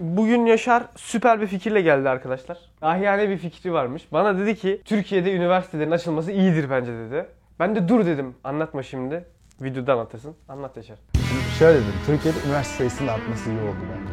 Bugün Yaşar süper bir fikirle geldi arkadaşlar. Ahiyane bir fikri varmış. Bana dedi ki Türkiye'de üniversitelerin açılması iyidir bence dedi. Ben de dur dedim. Anlatma şimdi. Videoda anlatırsın. Anlat Yaşar. Şöyle dedim, Türkiye'de üniversite sayısının artması iyi oldu bence.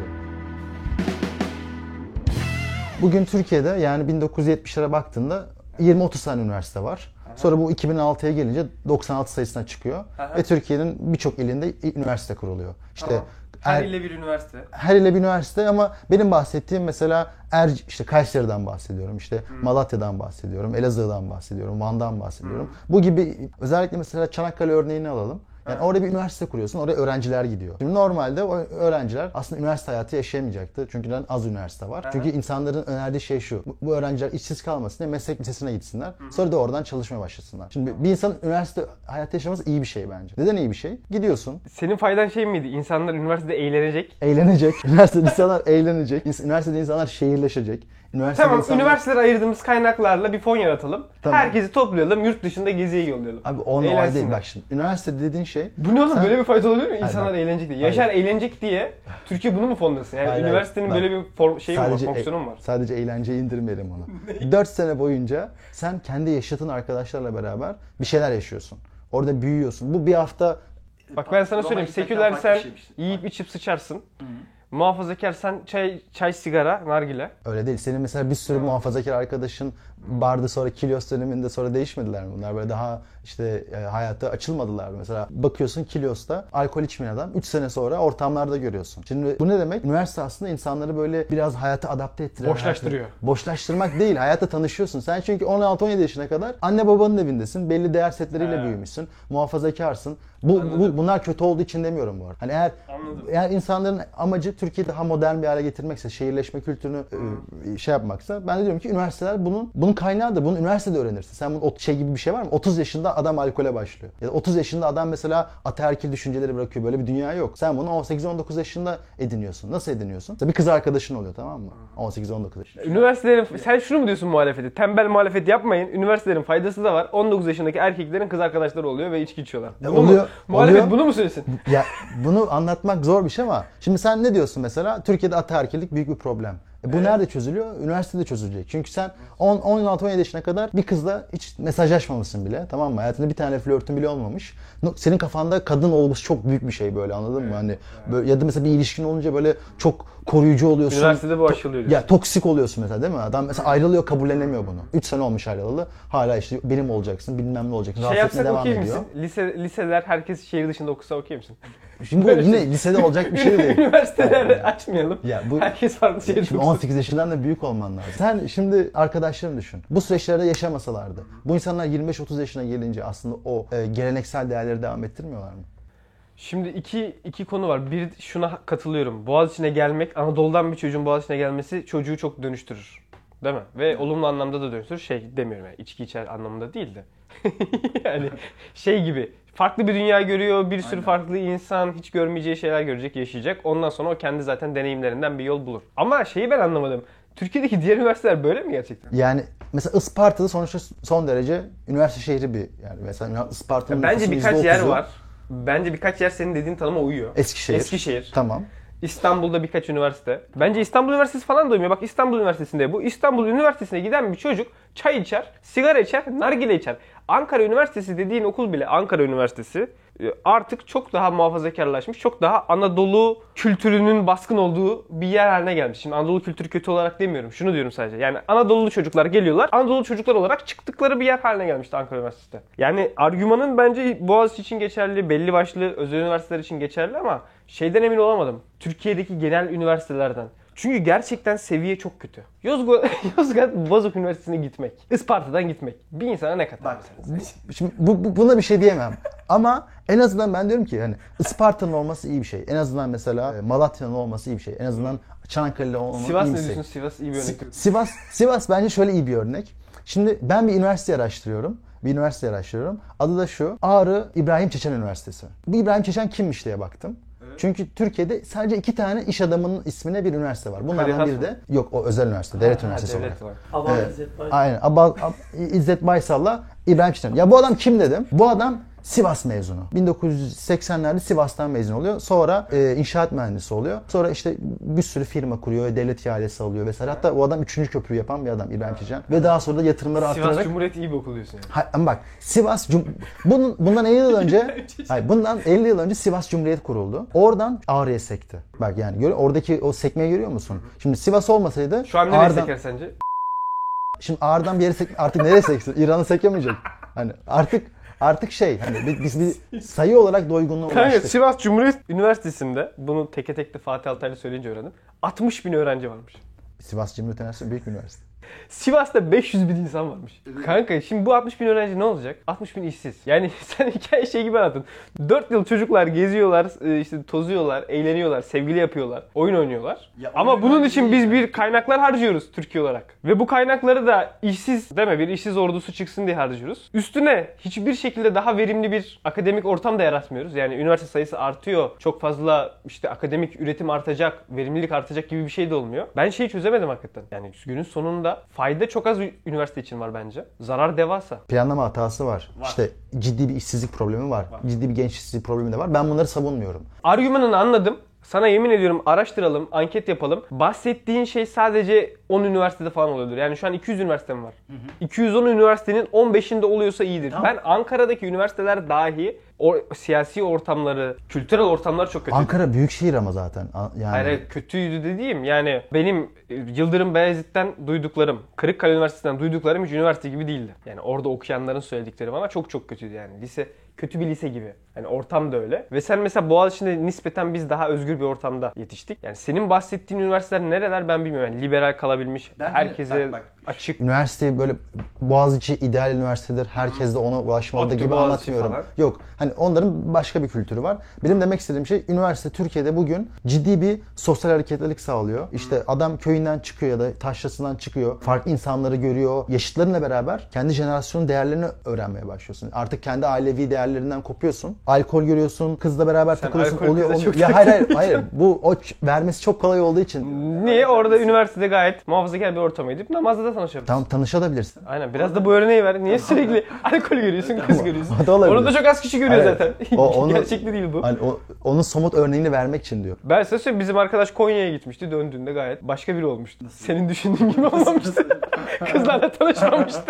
Bugün Türkiye'de yani 1970'lere baktığında 20-30 tane üniversite var. Sonra bu 2006'ya gelince 96 sayısına çıkıyor. Aha. Ve Türkiye'nin birçok ilinde i- üniversite kuruluyor. İşte er- Tamam. her, Her her, ile bir üniversite. ile bir üniversite ama benim bahsettiğim mesela Er işte Kayseri'den bahsediyorum, işte Malatya'dan bahsediyorum, Elazığ'dan bahsediyorum, Van'dan bahsediyorum. Bu gibi özellikle mesela Çanakkale örneğini alalım. Yani orada bir üniversite kuruyorsun, oraya öğrenciler gidiyor. Şimdi normalde o öğrenciler aslında üniversite hayatı yaşayamayacaktı. Çünkü neden az üniversite var. Aha. Çünkü insanların önerdiği şey şu. bu- Bu öğrenciler işsiz kalmasın diye meslek lisesine gitsinler. Sonra da oradan çalışmaya başlasınlar. Şimdi bir insanın üniversite hayatı yaşaması iyi bir şey bence. Neden iyi bir şey? Gidiyorsun, Senin faydan şey miydi? İnsanlar üniversitede eğlenecek. Eğlenecek. Üniversitede insanlar eğlenecek. İns- Üniversitede insanlar şehirleşecek. Üniversitede Tamam, insanlar... üniversitelere ayırdığımız kaynaklarla bir fon yaratalım. Tamam. Herkesi toplayalım, yurt dışında geziye yollayalım. Abi on olay Eğlensinler. değil bak şimdi. Üniversite dediğin şey... Bu ne oğlum? Sen- Böyle bir fayda oluyor mu? Hayır, İnsanlar bak. eğlenecek diye. Hayır. Yaşar eğlenecek diye Türkiye bunu mu fonlasın? Yani Hayır, hayır. üniversitenin Bak. böyle bir for- şeyi mi var, sadece, e- fonksiyonu mu var? sadece eğlenceyi indirmeyelim ona. 4 sene boyunca sen kendi yaşadığın arkadaşlarla beraber bir şeyler yaşıyorsun. Orada büyüyorsun. Bu bir hafta Bak ben sana Roma söyleyeyim. gitmekten Seküler farklı sen bir şeymiş. yiyip içip sıçarsın. Muhafazakar sen çay, çay sigara, nargile. öyle değil. Senin mesela bir sürü muhafazakar arkadaşın vardı sonra Kilios döneminde sonra değişmediler mi bunlar? Böyle daha işte e, hayata açılmadılar mı? Mesela bakıyorsun Kilios'ta alkol içmeyen adam 3 sene sonra ortamlarda görüyorsun. Şimdi bu ne demek? Üniversite aslında insanları böyle biraz hayata adapte ettiren. Boşlaştırıyor. hayatı- Boşlaştırmak değil. Hayata tanışıyorsun. Sen çünkü 16-17 yaşına kadar anne babanın evindesin. Belli değer setleriyle büyümüşsün. Muhafazakarsın. Bu, bu, bunlar kötü olduğu için demiyorum bu arada. Hani eğer Anladım. eğer insanların amacı Türkiye'yi daha modern bir hale getirmekse, şehirleşme kültürünü e, şey yapmaksa ben de diyorum ki üniversiteler bunun bunun kaynağıdır. Bunu üniversitede öğrenirsin. Sen bunun ot- şey gibi bir şey var mı? 30 yaşında adam alkole başlıyor. Ya da 30 yaşında adam mesela ataerkil düşünceleri bırakıyor. Böyle bir dünya yok. Sen bunu 18-19 yaşında ediniyorsun. Nasıl ediniyorsun? Mesela bir kız arkadaşın oluyor tamam mı? 18-19 yaşında. Üniversitelerin, sen şunu mu diyorsun muhalefete? Tembel muhalefet yapmayın. Üniversitelerin faydası da var. 19 yaşındaki erkeklerin kız arkadaşları oluyor ve içki içiyorlar. Bunu Ya mu- oluyor, Muhalefet oluyor. bunu mu söylesin? ya bunu anlatmak zor bir şey ama şimdi sen ne diyorsun mesela Türkiye'de ataerkillik büyük bir problem. E bu nerede çözülüyor? Üniversitede çözülecek. Çünkü sen 10 16 17 yaşına kadar bir kızla hiç mesajlaşmamışsın bile. Tamam mı? Hayatında bir tane flörtün bile olmamış. No- Senin kafanda kadın olgusu çok büyük bir şey böyle anladın mı? Hani böyle, ya da mesela bir ilişkin olunca böyle çok koruyucu oluyorsun. Üniversitede bu To- aşılıyor diyorsun. Ya toksik oluyorsun mesela değil mi? Adam mesela ayrılıyor kabullenemiyor bunu. 3 sene olmuş ayrılalı. Hala işte benim olacaksın, bilmem ne olacaksın. Şey rahatsız etmeye yapsak devam okey ediyor. misin? Lise, liseler herkes şehir dışında okusa okey misin? Şimdi bu yine lisede olacak bir şey değil. Üniversiteleri açmayalım. Ya bu- Herkes farklı şehir Şimdi okusun. 18 yaşından da büyük olman lazım. Sen şimdi arkadaşlarını düşün. Bu süreçlerde yaşamasalardı. Bu insanlar 25-30 yaşına gelince aslında o e, geleneksel değerleri devam ettirmiyorlar mı? Şimdi iki, iki konu var. Bir şuna katılıyorum. Boğaziçi'ne gelmek, Anadolu'dan bir çocuğun Boğaziçi'ne gelmesi çocuğu çok dönüştürür. Değil mi? Ve olumlu anlamda da dönüştürür. Şey demiyorum yani içki içer anlamında değil de. yani şey gibi. Farklı bir dünya görüyor, bir sürü Aynen. farklı insan, hiç görmeyeceği şeyler görecek, yaşayacak. Ondan sonra o kendi zaten deneyimlerinden bir yol bulur. Ama şeyi ben anlamadım. Türkiye'deki diğer üniversiteler böyle mi gerçekten? Yani mesela Isparta'da sonuçta son derece üniversite şehri bir yani mesela Isparta'nın Bence nüfusunun birkaç yer %30'u var. Bence birkaç yer senin dediğin tanıma uyuyor. Eskişehir. Eskişehir. Tamam. İstanbul'da birkaç üniversite. Bence İstanbul Üniversitesi falan da uymuyor. Bak İstanbul Üniversitesi'nde bu. İstanbul Üniversitesi'ne giden bir çocuk çay içer, sigara içer, nargile içer. Ankara Üniversitesi dediğin okul bile Ankara Üniversitesi e, artık çok daha muhafazakarlaşmış, çok daha Anadolu kültürünün baskın olduğu bir yer haline gelmiş. Şimdi Anadolu kültürü kötü olarak demiyorum. Şunu diyorum sadece. Yani Anadolu çocuklar geliyorlar. Anadolu çocuklar olarak çıktıkları bir yer haline gelmişti Ankara Üniversitesi. Yani argümanın bence Boğaziçi için geçerli, belli başlı özel üniversiteler için geçerli ama şeyden emin olamadım. Türkiye'deki genel üniversitelerden. Çünkü gerçekten seviye çok kötü. Yozgo- Yozgat Bozok Üniversitesi'ne gitmek, Isparta'dan gitmek bir insana ne kadar? Şimdi bu, bu- buna bir şey diyemem. Ama en azından ben diyorum ki hani Isparta'nın olması iyi bir şey. En azından mesela e, Malatya'nın olması iyi bir şey. En azından Çanakkale'de olması Sivas iyi ne bir şey. diyorsun? Sivas iyi bir örnek. Si- Sivas Sivas bence şöyle iyi bir örnek. Şimdi ben bir üniversite araştırıyorum. Bir üniversite araştırıyorum. Adı da şu. Ağrı İbrahim Çeçen Üniversitesi. Bu İbrahim Çeçen kimmiş diye baktım. Çünkü Türkiye'de sadece iki tane iş adamının ismine bir üniversite var. Bunlardan Kalifas biri mı? de yok o özel üniversite, devlet üniversitesi olarak. Devlet var. Aman Evet. İzzet Bay. Aynen. Abal, Ab- İzzet Baysal'la İbrahim Çetin. Ya bu adam kim dedim? Bu adam Sivas mezunu. 1980'lerde Sivas'tan mezun oluyor. Sonra e, inşaat mühendisi oluyor. Sonra işte bir sürü firma kuruyor, devlet ihalesi alıyor vesaire. Hatta o adam 3. köprüyü yapan bir adam İbrahim Çiçen. Ve daha sonra da yatırımları Sivas arttırarak Cumhuriyeti iyi bir okul diyorsun yani. Hayır, ama bak Sivas Cum- bunun bundan 50 yıl önce hayır bundan 50 yıl önce Sivas Cumhuriyet kuruldu. Oradan Ağrı'ya sekti. Bak yani görüyor oradaki o sekmeyi görüyor musun? Şimdi Sivas olmasaydı Şu an nereye Ağrı'dan, seker sence? şimdi Ağrı'dan bir yere sek artık nereye seksin? İran'ı sekemeyecek. Hani artık artık şey hani bi- biz bir sayı olarak doygunluğa Kanka ulaştık. Sivas Cumhuriyet Üniversitesi'nde bunu teke tek de Fatih Altaylı söyleyince öğrendim. 60 bin öğrenci varmış. Sivas Cumhuriyet Üniversitesi büyük bir üniversite. Sivas'ta 500 bin insan varmış. Kanka şimdi bu 60 bin öğrenci ne olacak? 60 bin işsiz. Yani sen hikaye şey gibi anlattın. 4 yıl çocuklar geziyorlar, e, işte tozuyorlar, eğleniyorlar, sevgili yapıyorlar, oyun oynuyorlar. Ya Ama oyun bunun oynamak için değil biz bir kaynaklar harcıyoruz Türkiye olarak. Ve bu kaynakları da işsiz deme bir işsiz ordusu çıksın diye harcıyoruz. Üstüne hiçbir şekilde daha verimli bir akademik ortam da yaratmıyoruz. Yani üniversite sayısı artıyor. Çok fazla işte akademik üretim artacak, verimlilik artacak gibi bir şey de olmuyor. Ben şeyi çözemedim hakikaten. Yani günün sonunda fayda çok az ü- üniversite için var bence. Zarar devasa. Planlama hatası var. İşte ciddi bir işsizlik problemi var. Ciddi bir genç işsizlik problemi de var. Ben bunları savunmuyorum. Argümanını anladım. Sana yemin ediyorum araştıralım, anket yapalım. Bahsettiğin şey sadece 10 üniversitede falan oluyordur. Yani şu an 200 üniversitem var. 210 üniversitenin 15'inde oluyorsa iyidir. Tamam. Ben Ankara'daki üniversiteler dahi o siyasi ortamları, kültürel ortamlar çok kötü. Ankara büyük şehir ama zaten. A- Yani Hayır, hayır, kötüydü dediğim yani benim e, Yıldırım Beyazıt'tan duyduklarım, Kırıkkale Üniversitesi'nden duyduklarım hiç üniversite gibi değildi. Yani orada okuyanların söyledikleri bana çok çok kötüydü yani. Lise kötü bir lise gibi. Hani ortam da öyle. Ve sen mesela Boğaziçi'nde nispeten biz daha özgür bir ortamda yetiştik. Yani senin bahsettiğin üniversiteler nereler ben bilmiyorum. Yani liberal kalabilmiş, Ben de- herkese bak, bak. açık. üniversite böyle Boğaziçi ideal üniversitedir. Herkes de ona ulaşmalıdır Otlu gibi Boğaziçi anlatmıyorum. falan. Yok. Hani onların başka bir kültürü var. Benim demek istediğim şey üniversite Türkiye'de bugün ciddi bir sosyal hareketlilik sağlıyor. İşte adam köyünden çıkıyor ya da taşrasından çıkıyor. Farklı insanları görüyor. Yaşıtlarınla beraber kendi jenerasyonun değerlerini öğrenmeye başlıyorsun. Artık kendi ailevi değerlerinden kopuyorsun. Alkol görüyorsun. Kızla beraber takılıyorsun. alkol Oluyor, kıza oluyor. çok Ya hayır hayır hayır. Bu o ç- vermesi çok kolay olduğu için. Niye? Orada üniversitede gayet muhafazakar bir ortama gidip namazda da tanışabilirsin. Tamam tanışabilirsin. Aynen biraz da bu örneği ver. Niye sürekli alkol görüyorsun, kız görüyorsun? O da olabilir. Onu da çok az kişi görüyor Hayır. zaten. O- onu- Gerçekli değil bu. Hani o, onun somut örneğini vermek için diyor. Ben size söyleyeyim bizim arkadaş Konya'ya gitmişti. Döndüğünde gayet başka biri olmuştu. Senin düşündüğün gibi olmamıştı. Kızlarla tanışmamıştı.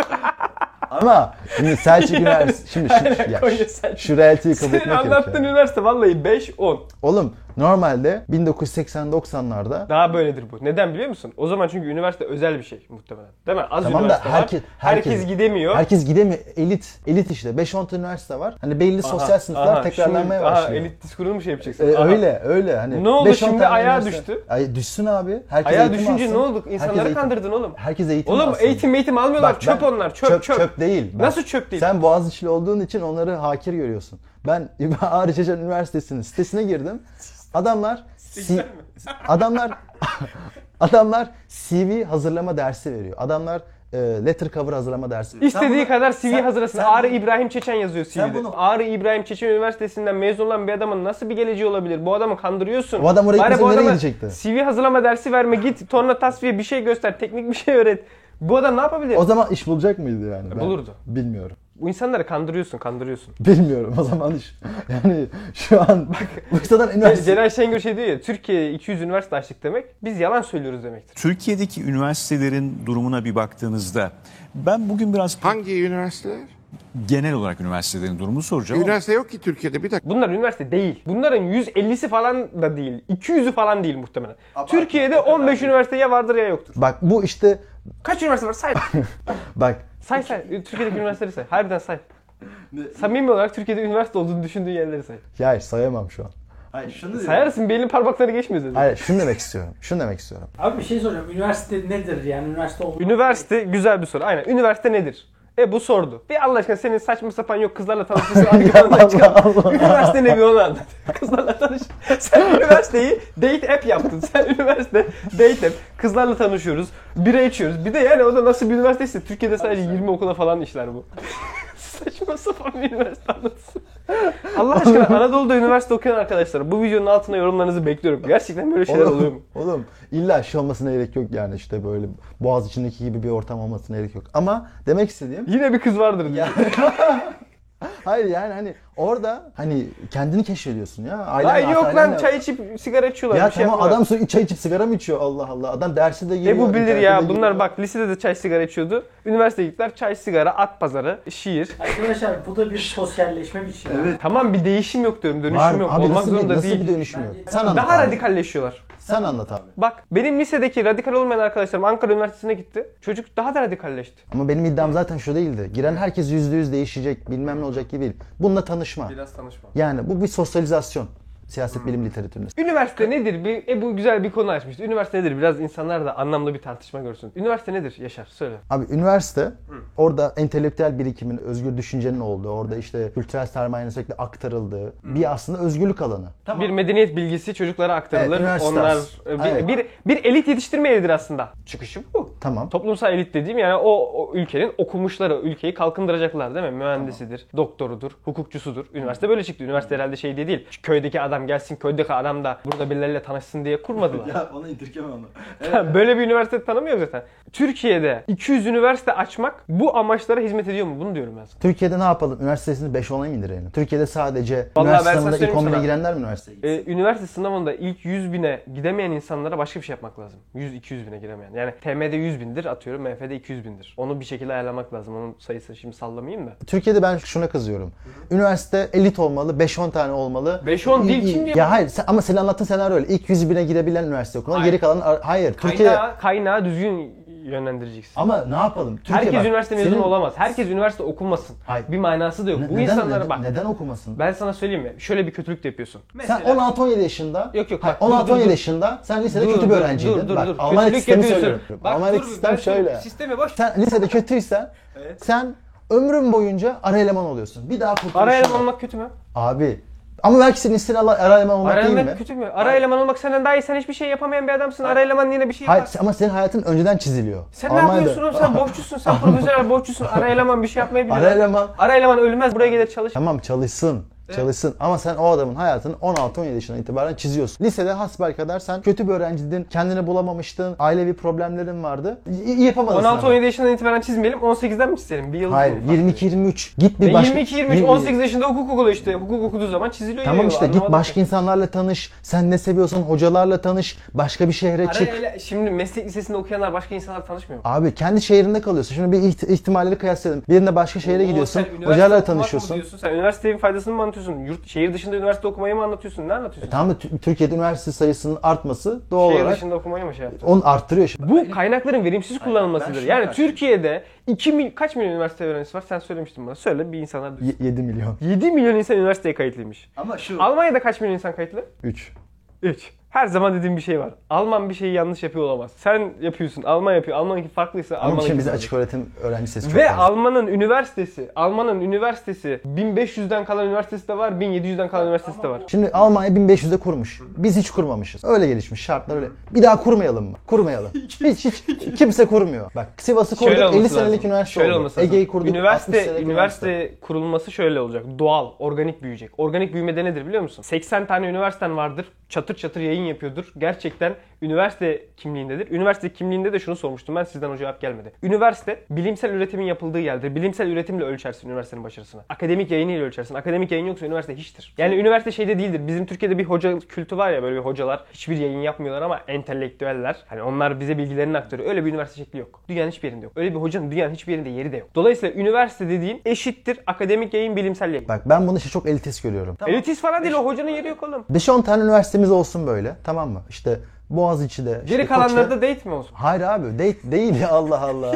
Ama şimdi Selçuk Üniversitesi şimdi şu, ya, Konya Selçuk. şu reality'yi kabul Senin etmek anlattığın gerekiyor. üniversite vallahi 5-10. Oğlum normalde 1980-90'larda Daha böyledir bu. Neden biliyor musun? O zaman çünkü üniversite özel bir şey muhtemelen. Değil mi? Az Tamam da üniversite herkes- var. Herkes, herkes- gidemiyor. herkes gidemiyor. Elit. Elit işte. 5-10 tane üniversite var. Hani belli sosyal Aha, sınıflar aha, tekrarlanmaya şimdi- aha, başlıyor. elit diskurunu mu şey yapacaksın? Ee, Aha. öyle öyle hani. Ne oldu 5-10 şimdi? tane Ayağa üniversite- düştü. Ay, düşsün abi. Herkes Ayağa eğitim düşünce alsın. ne olduk? Herkes İnsanları eğitim- kandırdın oğlum. Herkes eğitim Oğlum alsın. eğitim eğitim almıyorlar. Bak çöp ben- onlar. Çöp çöp. çöp. değil. Ben- Nasıl çöp değil? Sen Boğaziçi'li olduğun için onları hakir görüyorsun. Ben İbrahim Ağrı Çeşen Üniversitesi'nin sitesine girdim. Adamlar si- adamlar adamlar CV hazırlama dersi veriyor. Adamlar e, letter cover hazırlama dersi veriyor. İstediği bunu- kadar CV sen- hazırlasın. sen Ağrı bunu- İbrahim Çeçen yazıyor CV'de. bunu- Ağrı İbrahim Çeçen Üniversitesi'nden mezun olan bir adamın nasıl bir geleceği olabilir? Bu adamı kandırıyorsun. Bu adam oraya Bari gitmese bu nereye adama gidecekti? CV hazırlama dersi verme git. Torna tasfiye bir şey göster. Teknik bir şey öğret. Bu adam ne yapabilir? O zaman iş bulacak mıydı yani? Ben bulurdu. Bilmiyorum. Bu insanları kandırıyorsun, kandırıyorsun. Bilmiyorum o zaman iş. Yani şu an bak Bursa'dan üniversite Celal Şengör şey diyor ya, Türkiye'ye 200 üniversite açtık demek, biz yalan söylüyoruz demektir. Türkiye'deki üniversitelerin durumuna bir baktığınızda ben bugün biraz Hangi üniversiteler? genel olarak üniversitelerin durumunu soracağım. ama- Üniversite yok ki Türkiye'de bir dakika. Bunlar üniversite değil. Bunların 150'si falan da değil. 200'ü falan değil muhtemelen. Türkiye'de 15 üniversite ya vardır ya yoktur. Bak bu işte Kaç üniversite var say. bak Say say. Türkiye'deki üniversiteleri say. Harbiden say. Samimi olarak Türkiye'de üniversite olduğunu düşündüğün yerleri say. ya hayır, sayamam şu an. Hayır şunu diyorum. Sayarsın belinin parmakları geçmiyor zaten. Hayır şunu demek istiyorum. Şunu demek istiyorum. Abi bir şey soracağım. Üniversite nedir yani? Üniversite olmak Üniversite güzel bir soru. Aynen. Üniversite nedir? E bu sordu. Bir Allah aşkına senin saçma sapan yok kızlarla tanışırsın. Arkadan çıkan. Üniversite ne bir onu anlat. Kızlarla tanış. Sen üniversiteyi date app yaptın. Sen üniversite date app. Kızlarla tanışıyoruz. Bira içiyoruz. Bir de yani o da nasıl bir üniversiteyse Türkiye'de sadece 20 okula falan işler bu. Saçma sapan bir üniversite anlatısı. Allah aşkına Anadolu'da üniversite okuyan arkadaşlar bu videonun altına yorumlarınızı bekliyorum. Gerçekten böyle şeyler oluyor mu? Oğlum illa şey olmasına gerek yok yani işte böyle boğaz içindeki gibi bir ortam olmasına gerek yok. Ama demek istediğim Yine bir kız vardır diye. hayır yani hani Orada hani kendini keşfediyorsun ya. Ailen, Ay yok ailenle- lan çay içip sigara içiyorlar. Ya bir şey tamam yapıyorlar. adam su, çay içip sigara mı içiyor Allah Allah. Adam dersi de geliyor. E bu bilir internete de ya. giriyor. Bunlar bak lisede de çay sigara içiyordu. Üniversiteye gittiler çay sigara, at pazarı, şiir. Arkadaşlar bu da bir sosyalleşme biçimi. Evet. Tamam bir değişim yok diyorum. Dönüşüm Var. yok. Abi Olmak nasıl, zorunda bir, nasıl değil. bir dönüşüm yok? Bence- Sen anlat Daha abi. radikalleşiyorlar. Sen anlat abi. Bak benim lisedeki radikal olmayan arkadaşlarım Ankara Üniversitesi'ne gitti. Çocuk daha da radikalleşti. Ama benim iddiam zaten şu değildi. Giren herkes yüzde yüz değişecek, bilmem ne olacak gibi değil. Bununla tanışma. Biraz tanışma. Yani bu bir sosyalizasyon. Siyaset Hmm. bilim literatüründe. Üniversite nedir? Bir, e bu güzel bir konu açmıştı. Üniversite nedir? Biraz insanlar da anlamlı bir tartışma görsün. Üniversite nedir? Yaşar söyle. Abi üniversite orada entelektüel birikimin, özgür düşüncenin olduğu, orada işte kültürel sermayenin sürekli aktarıldığı bir aslında özgürlük alanı. Bir medeniyet bilgisi çocuklara aktarılır. Evet, üniversite Onlar aslında. e, Evet. bir, bir, bir elit yetiştirme elidir aslında. Çıkışı bu. Tamam. Toplumsal elit dediğim yani o, o ülkenin okumuşları, ülkeyi kalkındıracaklar değil mi? Mühendisidir, doktorudur, hukukçusudur. Üniversite böyle çıktı. Üniversite herhalde şey diye değil. Köydeki adam gelsin, köydeki adam da burada birileriyle tanışsın diye kurmadılar. Ya onu indirgeme onu. Tamam, Böyle bir üniversite tanımıyorum zaten. Türkiye'de 200 üniversite açmak bu amaçlara hizmet ediyor mu? Bunu diyorum ben sana. Türkiye'de ne yapalım? Üniversitesini 5 ona mı indirelim? Türkiye'de sadece Vallahi üniversite ben sana sınavında ilk söyleyeyim 10'una sana. girenler mi üniversiteye gidiyor? Ee, üniversite sınavında ilk 100 bine gidemeyen insanlara başka bir şey yapmak lazım. 100-200 bine giremeyen. Yani TM'de 100 bindir atıyorum, MF'de 200 bindir. Onu bir şekilde ayarlamak lazım. Onun sayısını şimdi sallamayayım da. Türkiye'de ben şuna kızıyorum. Üniversite elit olmalı, 5-10 tane olmalı. 5-10 değil, İ- i- kim diyor? Ya hayır sen- ama senin anlattığın senaryo öyle. İlk 100 bine girebilen üniversite okuluna Hayır. geri kalan ar- hayır. Türkiye Kaynağı, kaynağı düzgün yönlendireceksin. ama ne yapalım? Türkiye Herkes bak, üniversite mezunu senin- olamaz. Herkes üniversite okumasın. Hayır. Bir manası da yok. Ne- Bu neden, insanlara neden- bak. Neden okumasın? Ben sana söyleyeyim mi? Şöyle bir kötülük de yapıyorsun. sen 16-17 yaşında, Yok, yok, hayır, bak, dur, dur, 16-17 dur. yaşında sen lisede kötü Dur, bir dur, öğrenciydin. Dur dur bak, dur. Almanya'daki Kötülük sistemi yapıyorsun. söylüyorum. Bak, Almanya'daki dur, sistem ben şimdi şöyle. Sisteme boş. Sen lisede kötüysen sen ömrün boyunca ara eleman oluyorsun. Bir daha kurtuluşun Ara eleman yok. olmak kötü mü? Abi. Ama belki senin istediğin ala- ara eleman olmak Ara değil eleman mi? kötü mü? Ara eleman olmak senden daha iyi. Sen hiçbir şey yapamayan bir adamsın. Ara eleman yine bir şey yapar. Hayır ama senin hayatın önceden çiziliyor. Sen Almanya'da- Ah, ne yapıyorsun oğlum? Sen bohçusun. Sen profesyonel bohçusun. Ara eleman bir şey yapmayı biliyor. Ara eleman. Ara eleman ölmez. Buraya gelir çalış. Tamam çalışsın. Çalışsın ama sen o adamın hayatını 16-17 yaşından itibaren çiziyorsun. Lisede hasbelkader sen kötü bir öğrenciydin, kendini bulamamıştın, ailevi problemlerin vardı. Y- yapamadın sınavı. 16-17 yaşından itibaren çizmeyelim. 18'den mi çizelim? Bir yıl. Hayır 22-23 git bir başka... 22-23, 18 yaşında hukuk okulu işte. Hukuk okuduğu zaman çiziliyor. Tamam işte git Anlamadım. başka insanlarla tanış, sen ne seviyorsan hocalarla tanış, başka bir şehre Ara çık. ele- şimdi meslek lisesinde okuyanlar başka insanlarla tanışmıyor mu? Abi kendi şehrinde kalıyorsun. Şimdi bir iht- ihtimalleri kıyaslayalım. Birinde başka şehre Oo, gidiyorsun, sen üniversite okumak hocalarla mı tanışıyorsun. diyorsun? Sen üniversitenin faydasını mı anlatıyorsun? Yurt, şehir dışında üniversite okumayı mı anlatıyorsun? Ne anlatıyorsun? Tamam da Tü- Türkiye'de üniversite sayısının artması doğal şehir E, olarak dışında okumayı mı şey yaptın? onu arttırıyor. Şimdi. Bu kaynakların verimsiz kullanılmasıdır. şuna Yani karşıyım. Türkiye'de 2 mil, kaç milyon üniversite öğrencisi var? Sen söylemiştin bana. Söyle bir insanlar duysun. Y- 7 milyon. 7 milyon insan üniversiteye kayıtlıymış. Ama şu Almanya'da kaç milyon insan kayıtlı? 3. 3. Her zaman dediğim bir şey var. Alman bir şeyi yanlış yapıyor olamaz. Sen yapıyorsun, Alman yapıyor. Almanki farklıysa Ama Alman'ınki şimdi bize farklı. açık öğretim öğrenci sesi çok Ve fazla. Alman'ın üniversitesi, Alman'ın üniversitesi 1500'den kalan üniversitesi de var, 1700'den kalan üniversitesi de var. Şimdi Almanya 1500'de kurmuş. Biz hiç kurmamışız. Öyle gelişmiş şartlar öyle. Bir daha kurmayalım mı? Kurmayalım. hiç hiç kimse kurmuyor. Bak Sivas'ı kurduk 50 olması senelik lazım. üniversite şöyle oldu. olması lazım. Ege'yi kurduk 60 Üniversite, senelik üniversite kurulması şöyle olacak. Doğal, organik büyüyecek. Organik büyümede nedir biliyor musun? 80 tane üniversiten vardır. Çatır çatır yayın yapıyordur. Gerçekten üniversite kimliğindedir. Üniversite kimliğinde de şunu sormuştum ben sizden o cevap gelmedi. Üniversite bilimsel üretimin yapıldığı yerdir. Bilimsel üretimle ölçersin üniversitenin başarısını. Akademik yayınıyla ölçersin. Akademik yayın yoksa üniversite hiçtir. Yani üniversite şeyde değildir. Bizim Türkiye'de bir hoca kültü var ya böyle bir hocalar hiçbir yayın yapmıyorlar ama entelektüeller. Hani onlar bize bilgilerini aktarıyor. Öyle bir üniversite şekli yok. Dünyanın hiçbir yerinde yok. Öyle bir hocanın dünyanın hiçbir yerinde yeri de yok. Dolayısıyla üniversite dediğin eşittir akademik yayın bilimsel yayın. Bak ben bunu işte çok elitist görüyorum. Elitist falan değil o hocanın yeri yok oğlum. 5-10 tane üniversitemiz olsun böyle. Tamam mı? İşte Boğaziçi'de, işte Geri kalanları Koç'ta- da date mi olsun? Hayır abi de- değil ya Allah Allah.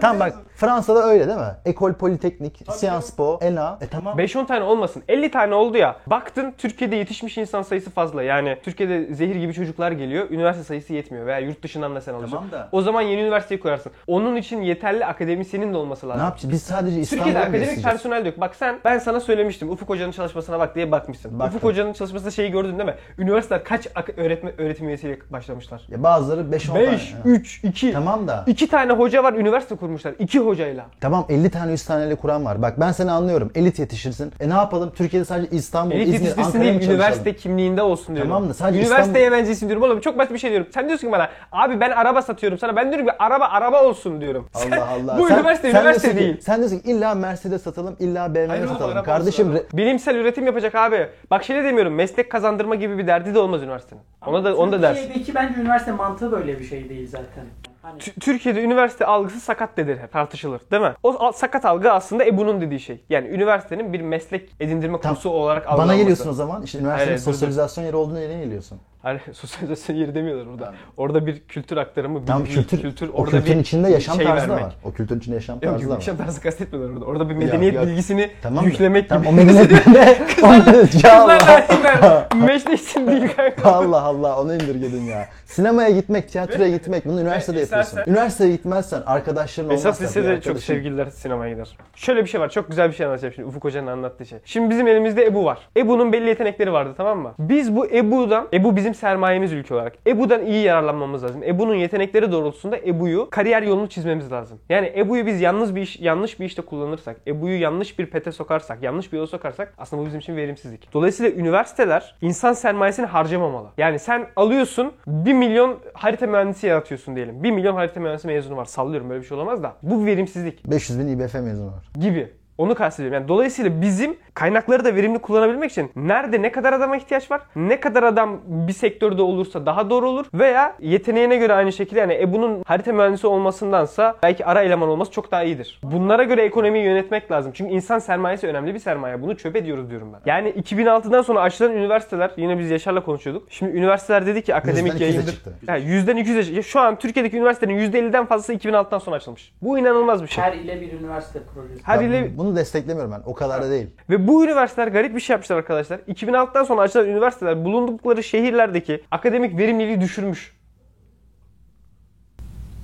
tamam bak Fransa'da öyle değil mi? Ecole Polytechnique, Sciences Po, ENA. E tamam. 5-10 tane olmasın. 50 tane oldu ya. Baktın Türkiye'de yetişmiş insan sayısı fazla. Yani Türkiye'de zehir gibi çocuklar geliyor. Üniversite sayısı yetmiyor veya yurt dışından da sen alacaksın. Tamam da- O zaman yeni üniversiteyi kurarsın. Onun için yeterli akademisyenin de olması Ne lazım. yapacağız? Biz sadece İstanbul'u Türkiye'de akademik besleyeceğiz. personel de yok. Bak sen ben sana söylemiştim. Ufuk Hoca'nın çalışmasına bak diye bakmışsın. Baktım. Ufuk Hoca'nın çalışmasında şeyi gördün değil mi? Üniversiteler kaç ak- öğretme öğretim üyesiyle başlamışlar? Ya bazıları 5-10 tane. 5, Ha. 3, 2. Tamam da. 2 tane hoca var üniversite kurmuşlar. 2 hocayla. Tamam 50 tane 100 taneyle kuran var. Bak ben seni anlıyorum. Elit yetişirsin. E ne yapalım? Türkiye'de sadece İstanbul, Elit İzmir, yetiştirsin Ankara'ya mı değil, çalışalım? üniversite kimliğinde olsun diyorum. Tamam da sadece Üniversiteye benzesin diyorum. Oğlum çok basit bir şey diyorum. Sen diyorsun ki bana, abi ben araba satıyorum sana. Ben diyorum ki araba araba olsun diyorum. Sen- Allah Allah. Bu üniversite üniversite diyorsun ki- değil. sen diyorsun ki illa Mercedes satalım, illa BMW Hayır oğlum, satalım. araba Kardeşim re- Bilimsel üretim yapacak abi. Bak şey de demiyorum, meslek kazandırma gibi bir derdi de olmaz üniversitenin. Ona da, onu da dersin. Türkiye'deki bence üniversite mantığı böyle bir şey değil zaten. Hani Tü- Türkiye'de üniversite algısı sakat denir, hep tartışılır değil mi? O al- sakat algı aslında Ebu'nun dediği şey. Yani üniversitenin bir meslek edindirme Tam- kursu olarak algılanması. bana geliyorsun o zaman. İşte üniversitenin Hayır, hayır, dur, dur. sosyalizasyon yeri olduğunu nereye geliyorsun? Hani sosyalizasyon yeri demiyorlar burada. Orada bir kültür aktarımı, bir Tamam bir kültür, o orada kültürün bir içinde yaşam şey tarzı da vermek. var. O kültürün içinde yaşam Yok tarzı da yok var. yaşam tarzı kastetmiyorlar orada. Orada bir medeniyet yok. bilgisini Tamam mı? yüklemek Tamam, o gibi. medeniyetinde onu ya Kızlar Allah. erkekler meşleşsin değil kanka. Allah Allah onu indirgedin ya. Sinemaya gitmek, tiyatroya gitmek bunu üniversitede yapıyorsun. istersen- Üniversiteye gitmezsen arkadaşların olmazsa. Esas bir lisede çok arkadaşın- sevgililer sinemaya gider. Şöyle bir şey var. Çok güzel bir şey anlatacağım şimdi. Ufuk Hoca'nın anlattığı şey. Şimdi bizim elimizde Ebu var. Ebu'nun belli yetenekleri vardı tamam mı? Biz bu Ebu'dan, Ebu bizim sermayemiz ülke olarak. Ebu'dan iyi yararlanmamız lazım. Ebu'nun yetenekleri doğrultusunda Ebu'yu kariyer yolunu çizmemiz lazım. Yani Ebu'yu biz yalnız bir iş, yanlış bir işte kullanırsak, Ebu'yu yanlış bir pete sokarsak, yanlış bir yola sokarsak aslında bu bizim için verimsizlik. Dolayısıyla üniversiteler insan sermayesini harcamamalı. Yani sen alıyorsun 1 milyon harita mühendisi yaratıyorsun diyelim. 1 milyon harita mühendisi mezunu var. Sallıyorum böyle bir şey olamaz da. Bu verimsizlik 500 bin İBF mezunu var. gibi. Onu kastediyorum. Yani dolayısıyla bizim kaynakları da verimli kullanabilmek için nerede ne kadar adama ihtiyaç var? Ne kadar adam bir sektörde olursa daha doğru olur veya yeteneğine göre aynı şekilde yani Ebu'nun harita mühendisi olmasındansa belki ara eleman olması çok daha iyidir. Bunlara göre ekonomiyi yönetmek lazım. Çünkü insan sermayesi önemli bir sermaye. Bunu çöp ediyoruz diyorum ben. Yani 2006'dan sonra açılan üniversiteler yine biz Yaşar'la konuşuyorduk. Şimdi üniversiteler dedi ki akademik Yüzden 200'e yayındır. çıktı. Yani yüzden 200'e çıktı. Şu an Türkiye'deki üniversitelerin %50'den fazlası 2006'dan sonra açılmış. Bu inanılmaz bir şey. her ile bir üniversite projesi. Her Ben ile Bunu desteklemiyorum ben. O kadar da değil. ve bu üniversiteler garip bir şey yapmışlar arkadaşlar. 2006'dan sonra açılan üniversiteler bulundukları şehirlerdeki akademik verimliliği düşürmüş.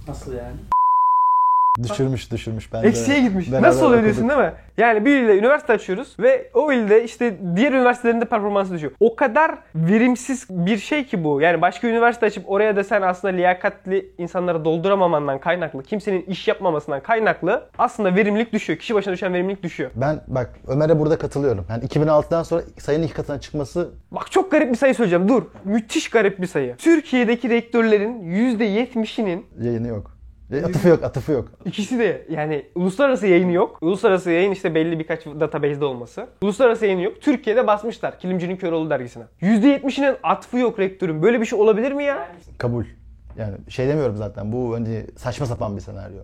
Nasıl yani? Düşürmüş düşürmüş. Ben de- Eksiye gitmiş. beraber Nasıl oluyor diyorsun okuduk. değil mi? Yani bir ilde üniversite açıyoruz ve o ilde işte diğer üniversitelerin de performansı düşüyor. O kadar verimsiz bir şey ki bu. Yani başka üniversite açıp oraya da sen aslında liyakatli insanları dolduramamandan kaynaklı, kimsenin iş yapmamasından kaynaklı aslında verimlilik düşüyor. Kişi başına düşen verimlilik düşüyor. Ben bak Ömer'e burada katılıyorum. Yani 2006'dan sonra sayının iki katına çıkması Bak çok garip bir sayı söyleyeceğim. Dur. Müthiş garip bir sayı. Türkiye'deki rektörlerin %70'inin yayını yok. E, Atıfı yok, atıfı yok. İkisi de yani uluslararası yayını yok. Uluslararası yayın işte belli birkaç database'de olması. Uluslararası yayını yok. Türkiye'de basmışlar Kilimcinin Köroğlu dergisine. %70'inin atfı yok rektörün. Böyle bir şey olabilir mi ya? Kabul. Yani şey demiyorum zaten. Bu hani saçma sapan bir senaryo.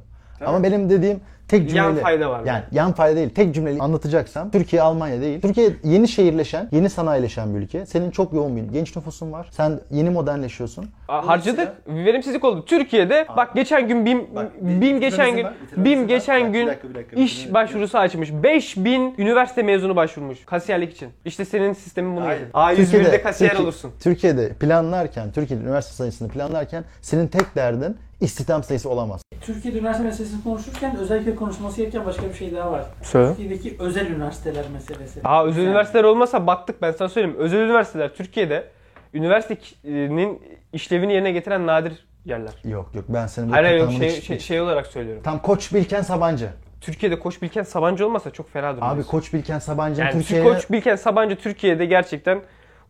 Ama benim dediğim tek cümleli. fayda var. Yani yan fayda değil. Tek cümleli anlatacaksam Türkiye Almanya değil. Türkiye yeni şehirleşen, yeni sanayileşen bir ülke. Senin çok yoğun bir genç nüfusun var. Sen yeni modernleşiyorsun. Aa, harcadık. Verimsizlik oldu. Türkiye'de bak geçen gün BİM BİM geçen gün BİM geçen gün iş başvurusu açmış. 5000 üniversite mezunu başvurmuş kasiyerlik için. İşte senin sistemin bunu getirdi. A101'de kasiyer Türkiye- olursun. Türkiye'de planlarken, Türkiye'de üniversite sayısını planlarken senin tek derdin istihdam sayısı olamaz. Türkiye'de üniversite meselesini konuşurken özellikle konuşması gereken başka bir şey daha var. Söyle. Türkiye'deki özel üniversiteler meselesi. Aa özel Yani üniversiteler olmasa battık ben sana söyleyeyim. Özel üniversiteler Türkiye'de üniversitenin işlevini yerine getiren nadir yerler. Yok yok ben senin bu Hayır hayır yok, tanımını şey, hiç- şey, şey olarak söylüyorum. Tam Koç Bilken Sabancı. Türkiye'de Koç Bilken Sabancı olmasa çok fena durumdayız. Abi Koç Bilken Sabancı'nın yani Türkiye'ye Koç Bilken Sabancı Türkiye'de gerçekten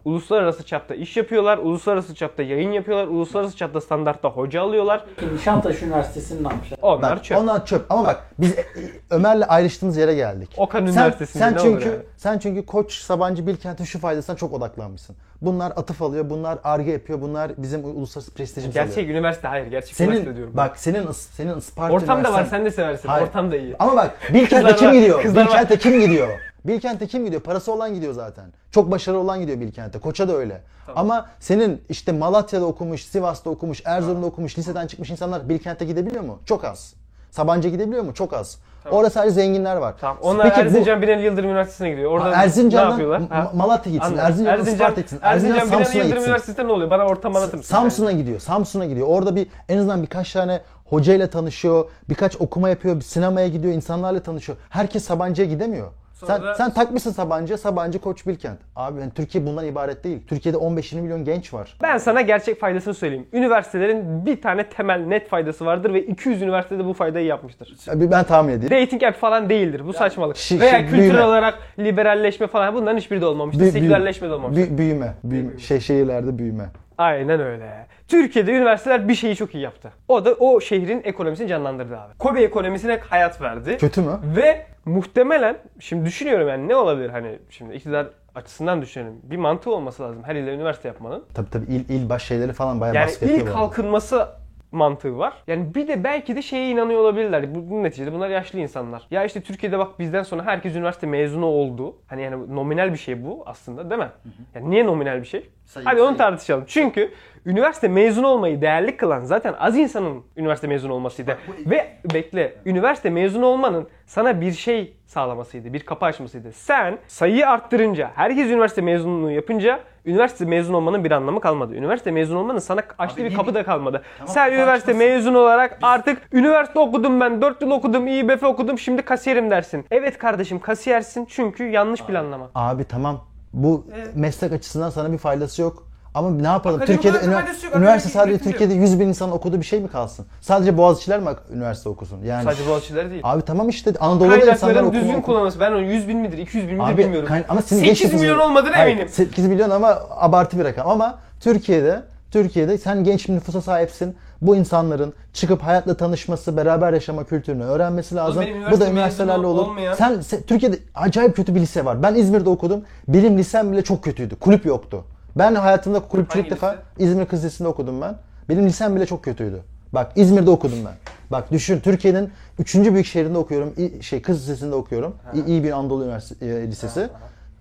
uluslararası çapta iş yapıyorlar, uluslararası çapta yayın yapıyorlar, uluslararası çapta standartta hoca alıyorlar. Nişantaşı Üniversitesi'nin ne yapmışlar? Onlar Bak, çöp. Onlar çöp. Ama bak biz e, Ömer'le ayrıştığımız yere geldik. Okan sen, Üniversitesi'nde sen ne çünkü olur yani? sen çünkü Koç Sabancı Bilkent'in şu faydasına çok odaklanmışsın. Bunlar atıf alıyor, bunlar arge yapıyor, bunlar bizim uluslararası prestijimizi alıyor. Gerçek üniversite hayır, gerçek üniversite diyorum. Senin ben. bak senin Is- senin Isparta Ortamda var, Üniversitesi- sen de seversin. Hayır. Ortam da iyi. Ama bak Bilkent'e Kızlar kim var, gidiyor? kızlar var. Bilkent'e kim gidiyor? Bilkent'e kim gidiyor? Parası olan gidiyor zaten. Çok başarılı olan gidiyor Bilkent'e. Koç'a da öyle. Ama senin işte Malatya'da okumuş, Sivas'ta okumuş, Erzurum'da okumuş, liseden çıkmış insanlar Bilkent'e gidebiliyor mu? Çok az. Sabancı gidebiliyor mu? Çok az. Orada sadece zenginler var. Tamam. Onlar Peki bu- Erzincan Binali Yıldırım Üniversitesi'ne gidiyor. Orada ne Erzincan'dan yapıyorlar? Ma- Ha? Malatya gitsin, Anladım. Erzincan'dan Isparta gitsin, Erzincan, Erzincan Binali Samsun'a Yıldırım gitsin. Üniversitesi'nde ne oluyor? Bana ortam anlatır mısın? Samsun'a gidiyor. Samsun'a gidiyor. Orada bir en azından birkaç tane hocayla tanışıyor. Birkaç okuma yapıyor. Bir sinemaya gidiyor. insanlarla tanışıyor. Herkes Sabancı'ya gidemiyor. Sen, da- sen takmışsın Sabancı, Sabancı Koç Bilkent. Abi yani Türkiye bundan ibaret değil. Türkiye'de 15-20 milyon genç var. Ben sana gerçek faydasını söyleyeyim. Üniversitelerin bir tane temel net faydası vardır ve 200 üniversitede bu faydayı yapmıştır. Ben, ben tahmin edeyim. Dating app falan değildir. Bu saçmalık. şi- Veya şi- kültürel şey- büyüme. olarak liberalleşme falan bunların hiçbiri de olmamıştır. Büyü- Sekülerleşme de olmamıştır. büyü- büyüme, büyüme. Şey, şehirlerde büyüme. Aynen öyle. Türkiye'de üniversiteler bir şeyi çok iyi yaptı. O da o şehrin ekonomisini canlandırdı abi. Kobe ekonomisine hayat verdi. Kötü mü? Ve muhtemelen şimdi düşünüyorum yani ne olabilir hani şimdi iktidar açısından düşünelim. Bir mantığı olması lazım her ilde üniversite yapmanın. Tabii tabii il, il baş şeyleri falan bayağı Yani baskı ilk yapıyor bu arada. kalkınması mantığı var. Yani bir de belki de şeye inanıyor olabilirler. Bu- Bunun neticede bunlar yaşlı insanlar. Ya işte Türkiye'de bak bizden sonra herkes üniversite mezunu oldu. Hani yani nominal bir şey bu aslında değil mi? Yani niye nominal bir şey? Sayı- Hadi onu sayı. tartışalım. Çünkü üniversite mezunu olmayı değerli kılan zaten az insanın üniversite mezunu olmasıydı. Ve bekle, üniversite mezunu olmanın sana bir şey sağlamasıydı, bir kapı açmasıydı. Sen sayıyı arttırınca, herkes üniversite mezunluğu yapınca üniversite mezun olmanın bir anlamı kalmadı. Üniversite mezun olmanın sana açtığı Abi bir iyi kapı bir- da kalmadı. Tamam, Sen kapı üniversite açmasın. mezun olarak artık üniversite okudum ben, 4 yıl okudum, İBF okudum, şimdi kasiyerim dersin. Evet kardeşim kasiyersin çünkü yanlış planlama. Abi tamam. Bu meslek açısından sana bir faydası yok. Ama ne yapalım? Akademik olarak Türkiye'de ünivers- faydası yok, üniversite akademik sadece hizmeti yok. Türkiye'de 100 bin insan okuduğu bir şey mi kalsın? Sadece Boğaziçi'ler mi ak- üniversite okusun? Yani Sadece Boğaziçi'leri değil. Abi tamam işte Anadolu'da insanlar Kaynakların okuma- düzgün okuma- kullanması. Ben onu 100 bin midir, 200 bin midir Abi, bilmiyorum. kayn- ama sizin 8 gençlik milyon nüfusu- olmadığına Hayır, eminim. 8 milyon ama abartı bir rakam ama Türkiye'de Türkiye'de sen genç bir nüfusa sahipsin. Bu insanların çıkıp hayatla tanışması, beraber yaşama kültürünü öğrenmesi lazım. benim Bu da üniversite üniversitelerle mezunu olur. olmayan- Sen se- Türkiye'de acayip kötü bir lise var. Ben İzmir'de okudum. Benim lisem bile çok kötüydü. Kulüp yoktu. Ben hayatımda kulüpçülük Hangi defa lise? İzmir Kız Lisesi'nde okudum ben. Benim lisem bile çok kötüydü. Bak İzmir'de okudum ben. Bak düşün Türkiye'nin 3. büyük şehrinde okuyorum. İ- şey Kız Lisesi'nde okuyorum. İ- iyi bir Anadolu Üniversitesi e, Lisesi.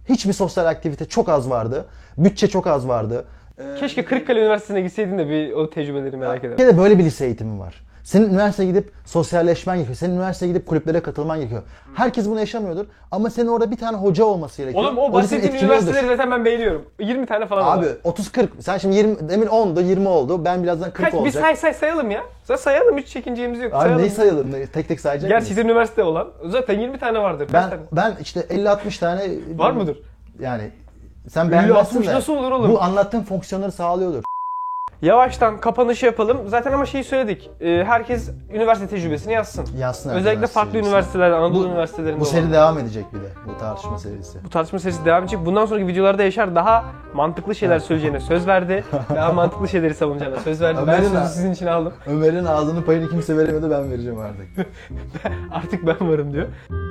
Hiçbir sosyal aktivite çok az vardı. Bütçe çok az vardı. Keşke Kırıkkale Üniversitesi'ne gitseydin de bir o tecrübeleri merak ederim. Türkiye'de böyle bir lise eğitimi var. Senin üniversiteye gidip sosyalleşmen gerekiyor. Senin üniversiteye gidip kulüplere katılman gerekiyor. Herkes bunu yaşamıyordur ama senin orada bir tane hoca olması gerekiyor. Oğlum o Orada seni bahsettiğin etkiliyordur. üniversiteleri zaten ben beğeniyorum. 20 tane falan Abi var. 30-40. Sen şimdi 20, demin 10'du 20 oldu. Ben birazdan 40 Kaç bir olacak. say say sayalım ya. Say- sayalım hiç çekincemiz yok. Abi sayalım. neyi sayalım? Ne- Tek tek sayacak mıyız? Gerçekten üniversite olan zaten 20 tane vardır. Kaç Ben tane? ben işte 50-60 tane Var mıdır? Yani sen beğenmezsin 60 de. nasıl olur oğlum? Bu anlattığım fonksiyonları sağlıyordur. Yavaştan kapanışı yapalım. Zaten ama şeyi söyledik. Ee, herkes üniversite tecrübesini yazsın. Yazsın abi, Özellikle üniversite farklı tecrübesini. üniversiteler, Anadolu Bu- üniversitelerinde Bu olan. seri devam edecek bir de. Bu tartışma serisi. bu tartışma serisi devam edecek. Bundan sonraki videolarda Yaşar daha mantıklı şeyler söyleyeceğine söz verdi. daha mantıklı şeyleri savunacağına söz verdi. Ben Ömer'in sözü ha- sizin için aldım. Ömer'in ağzının payını kimse veremedi ben vereceğim artık. Artık ben varım diyor.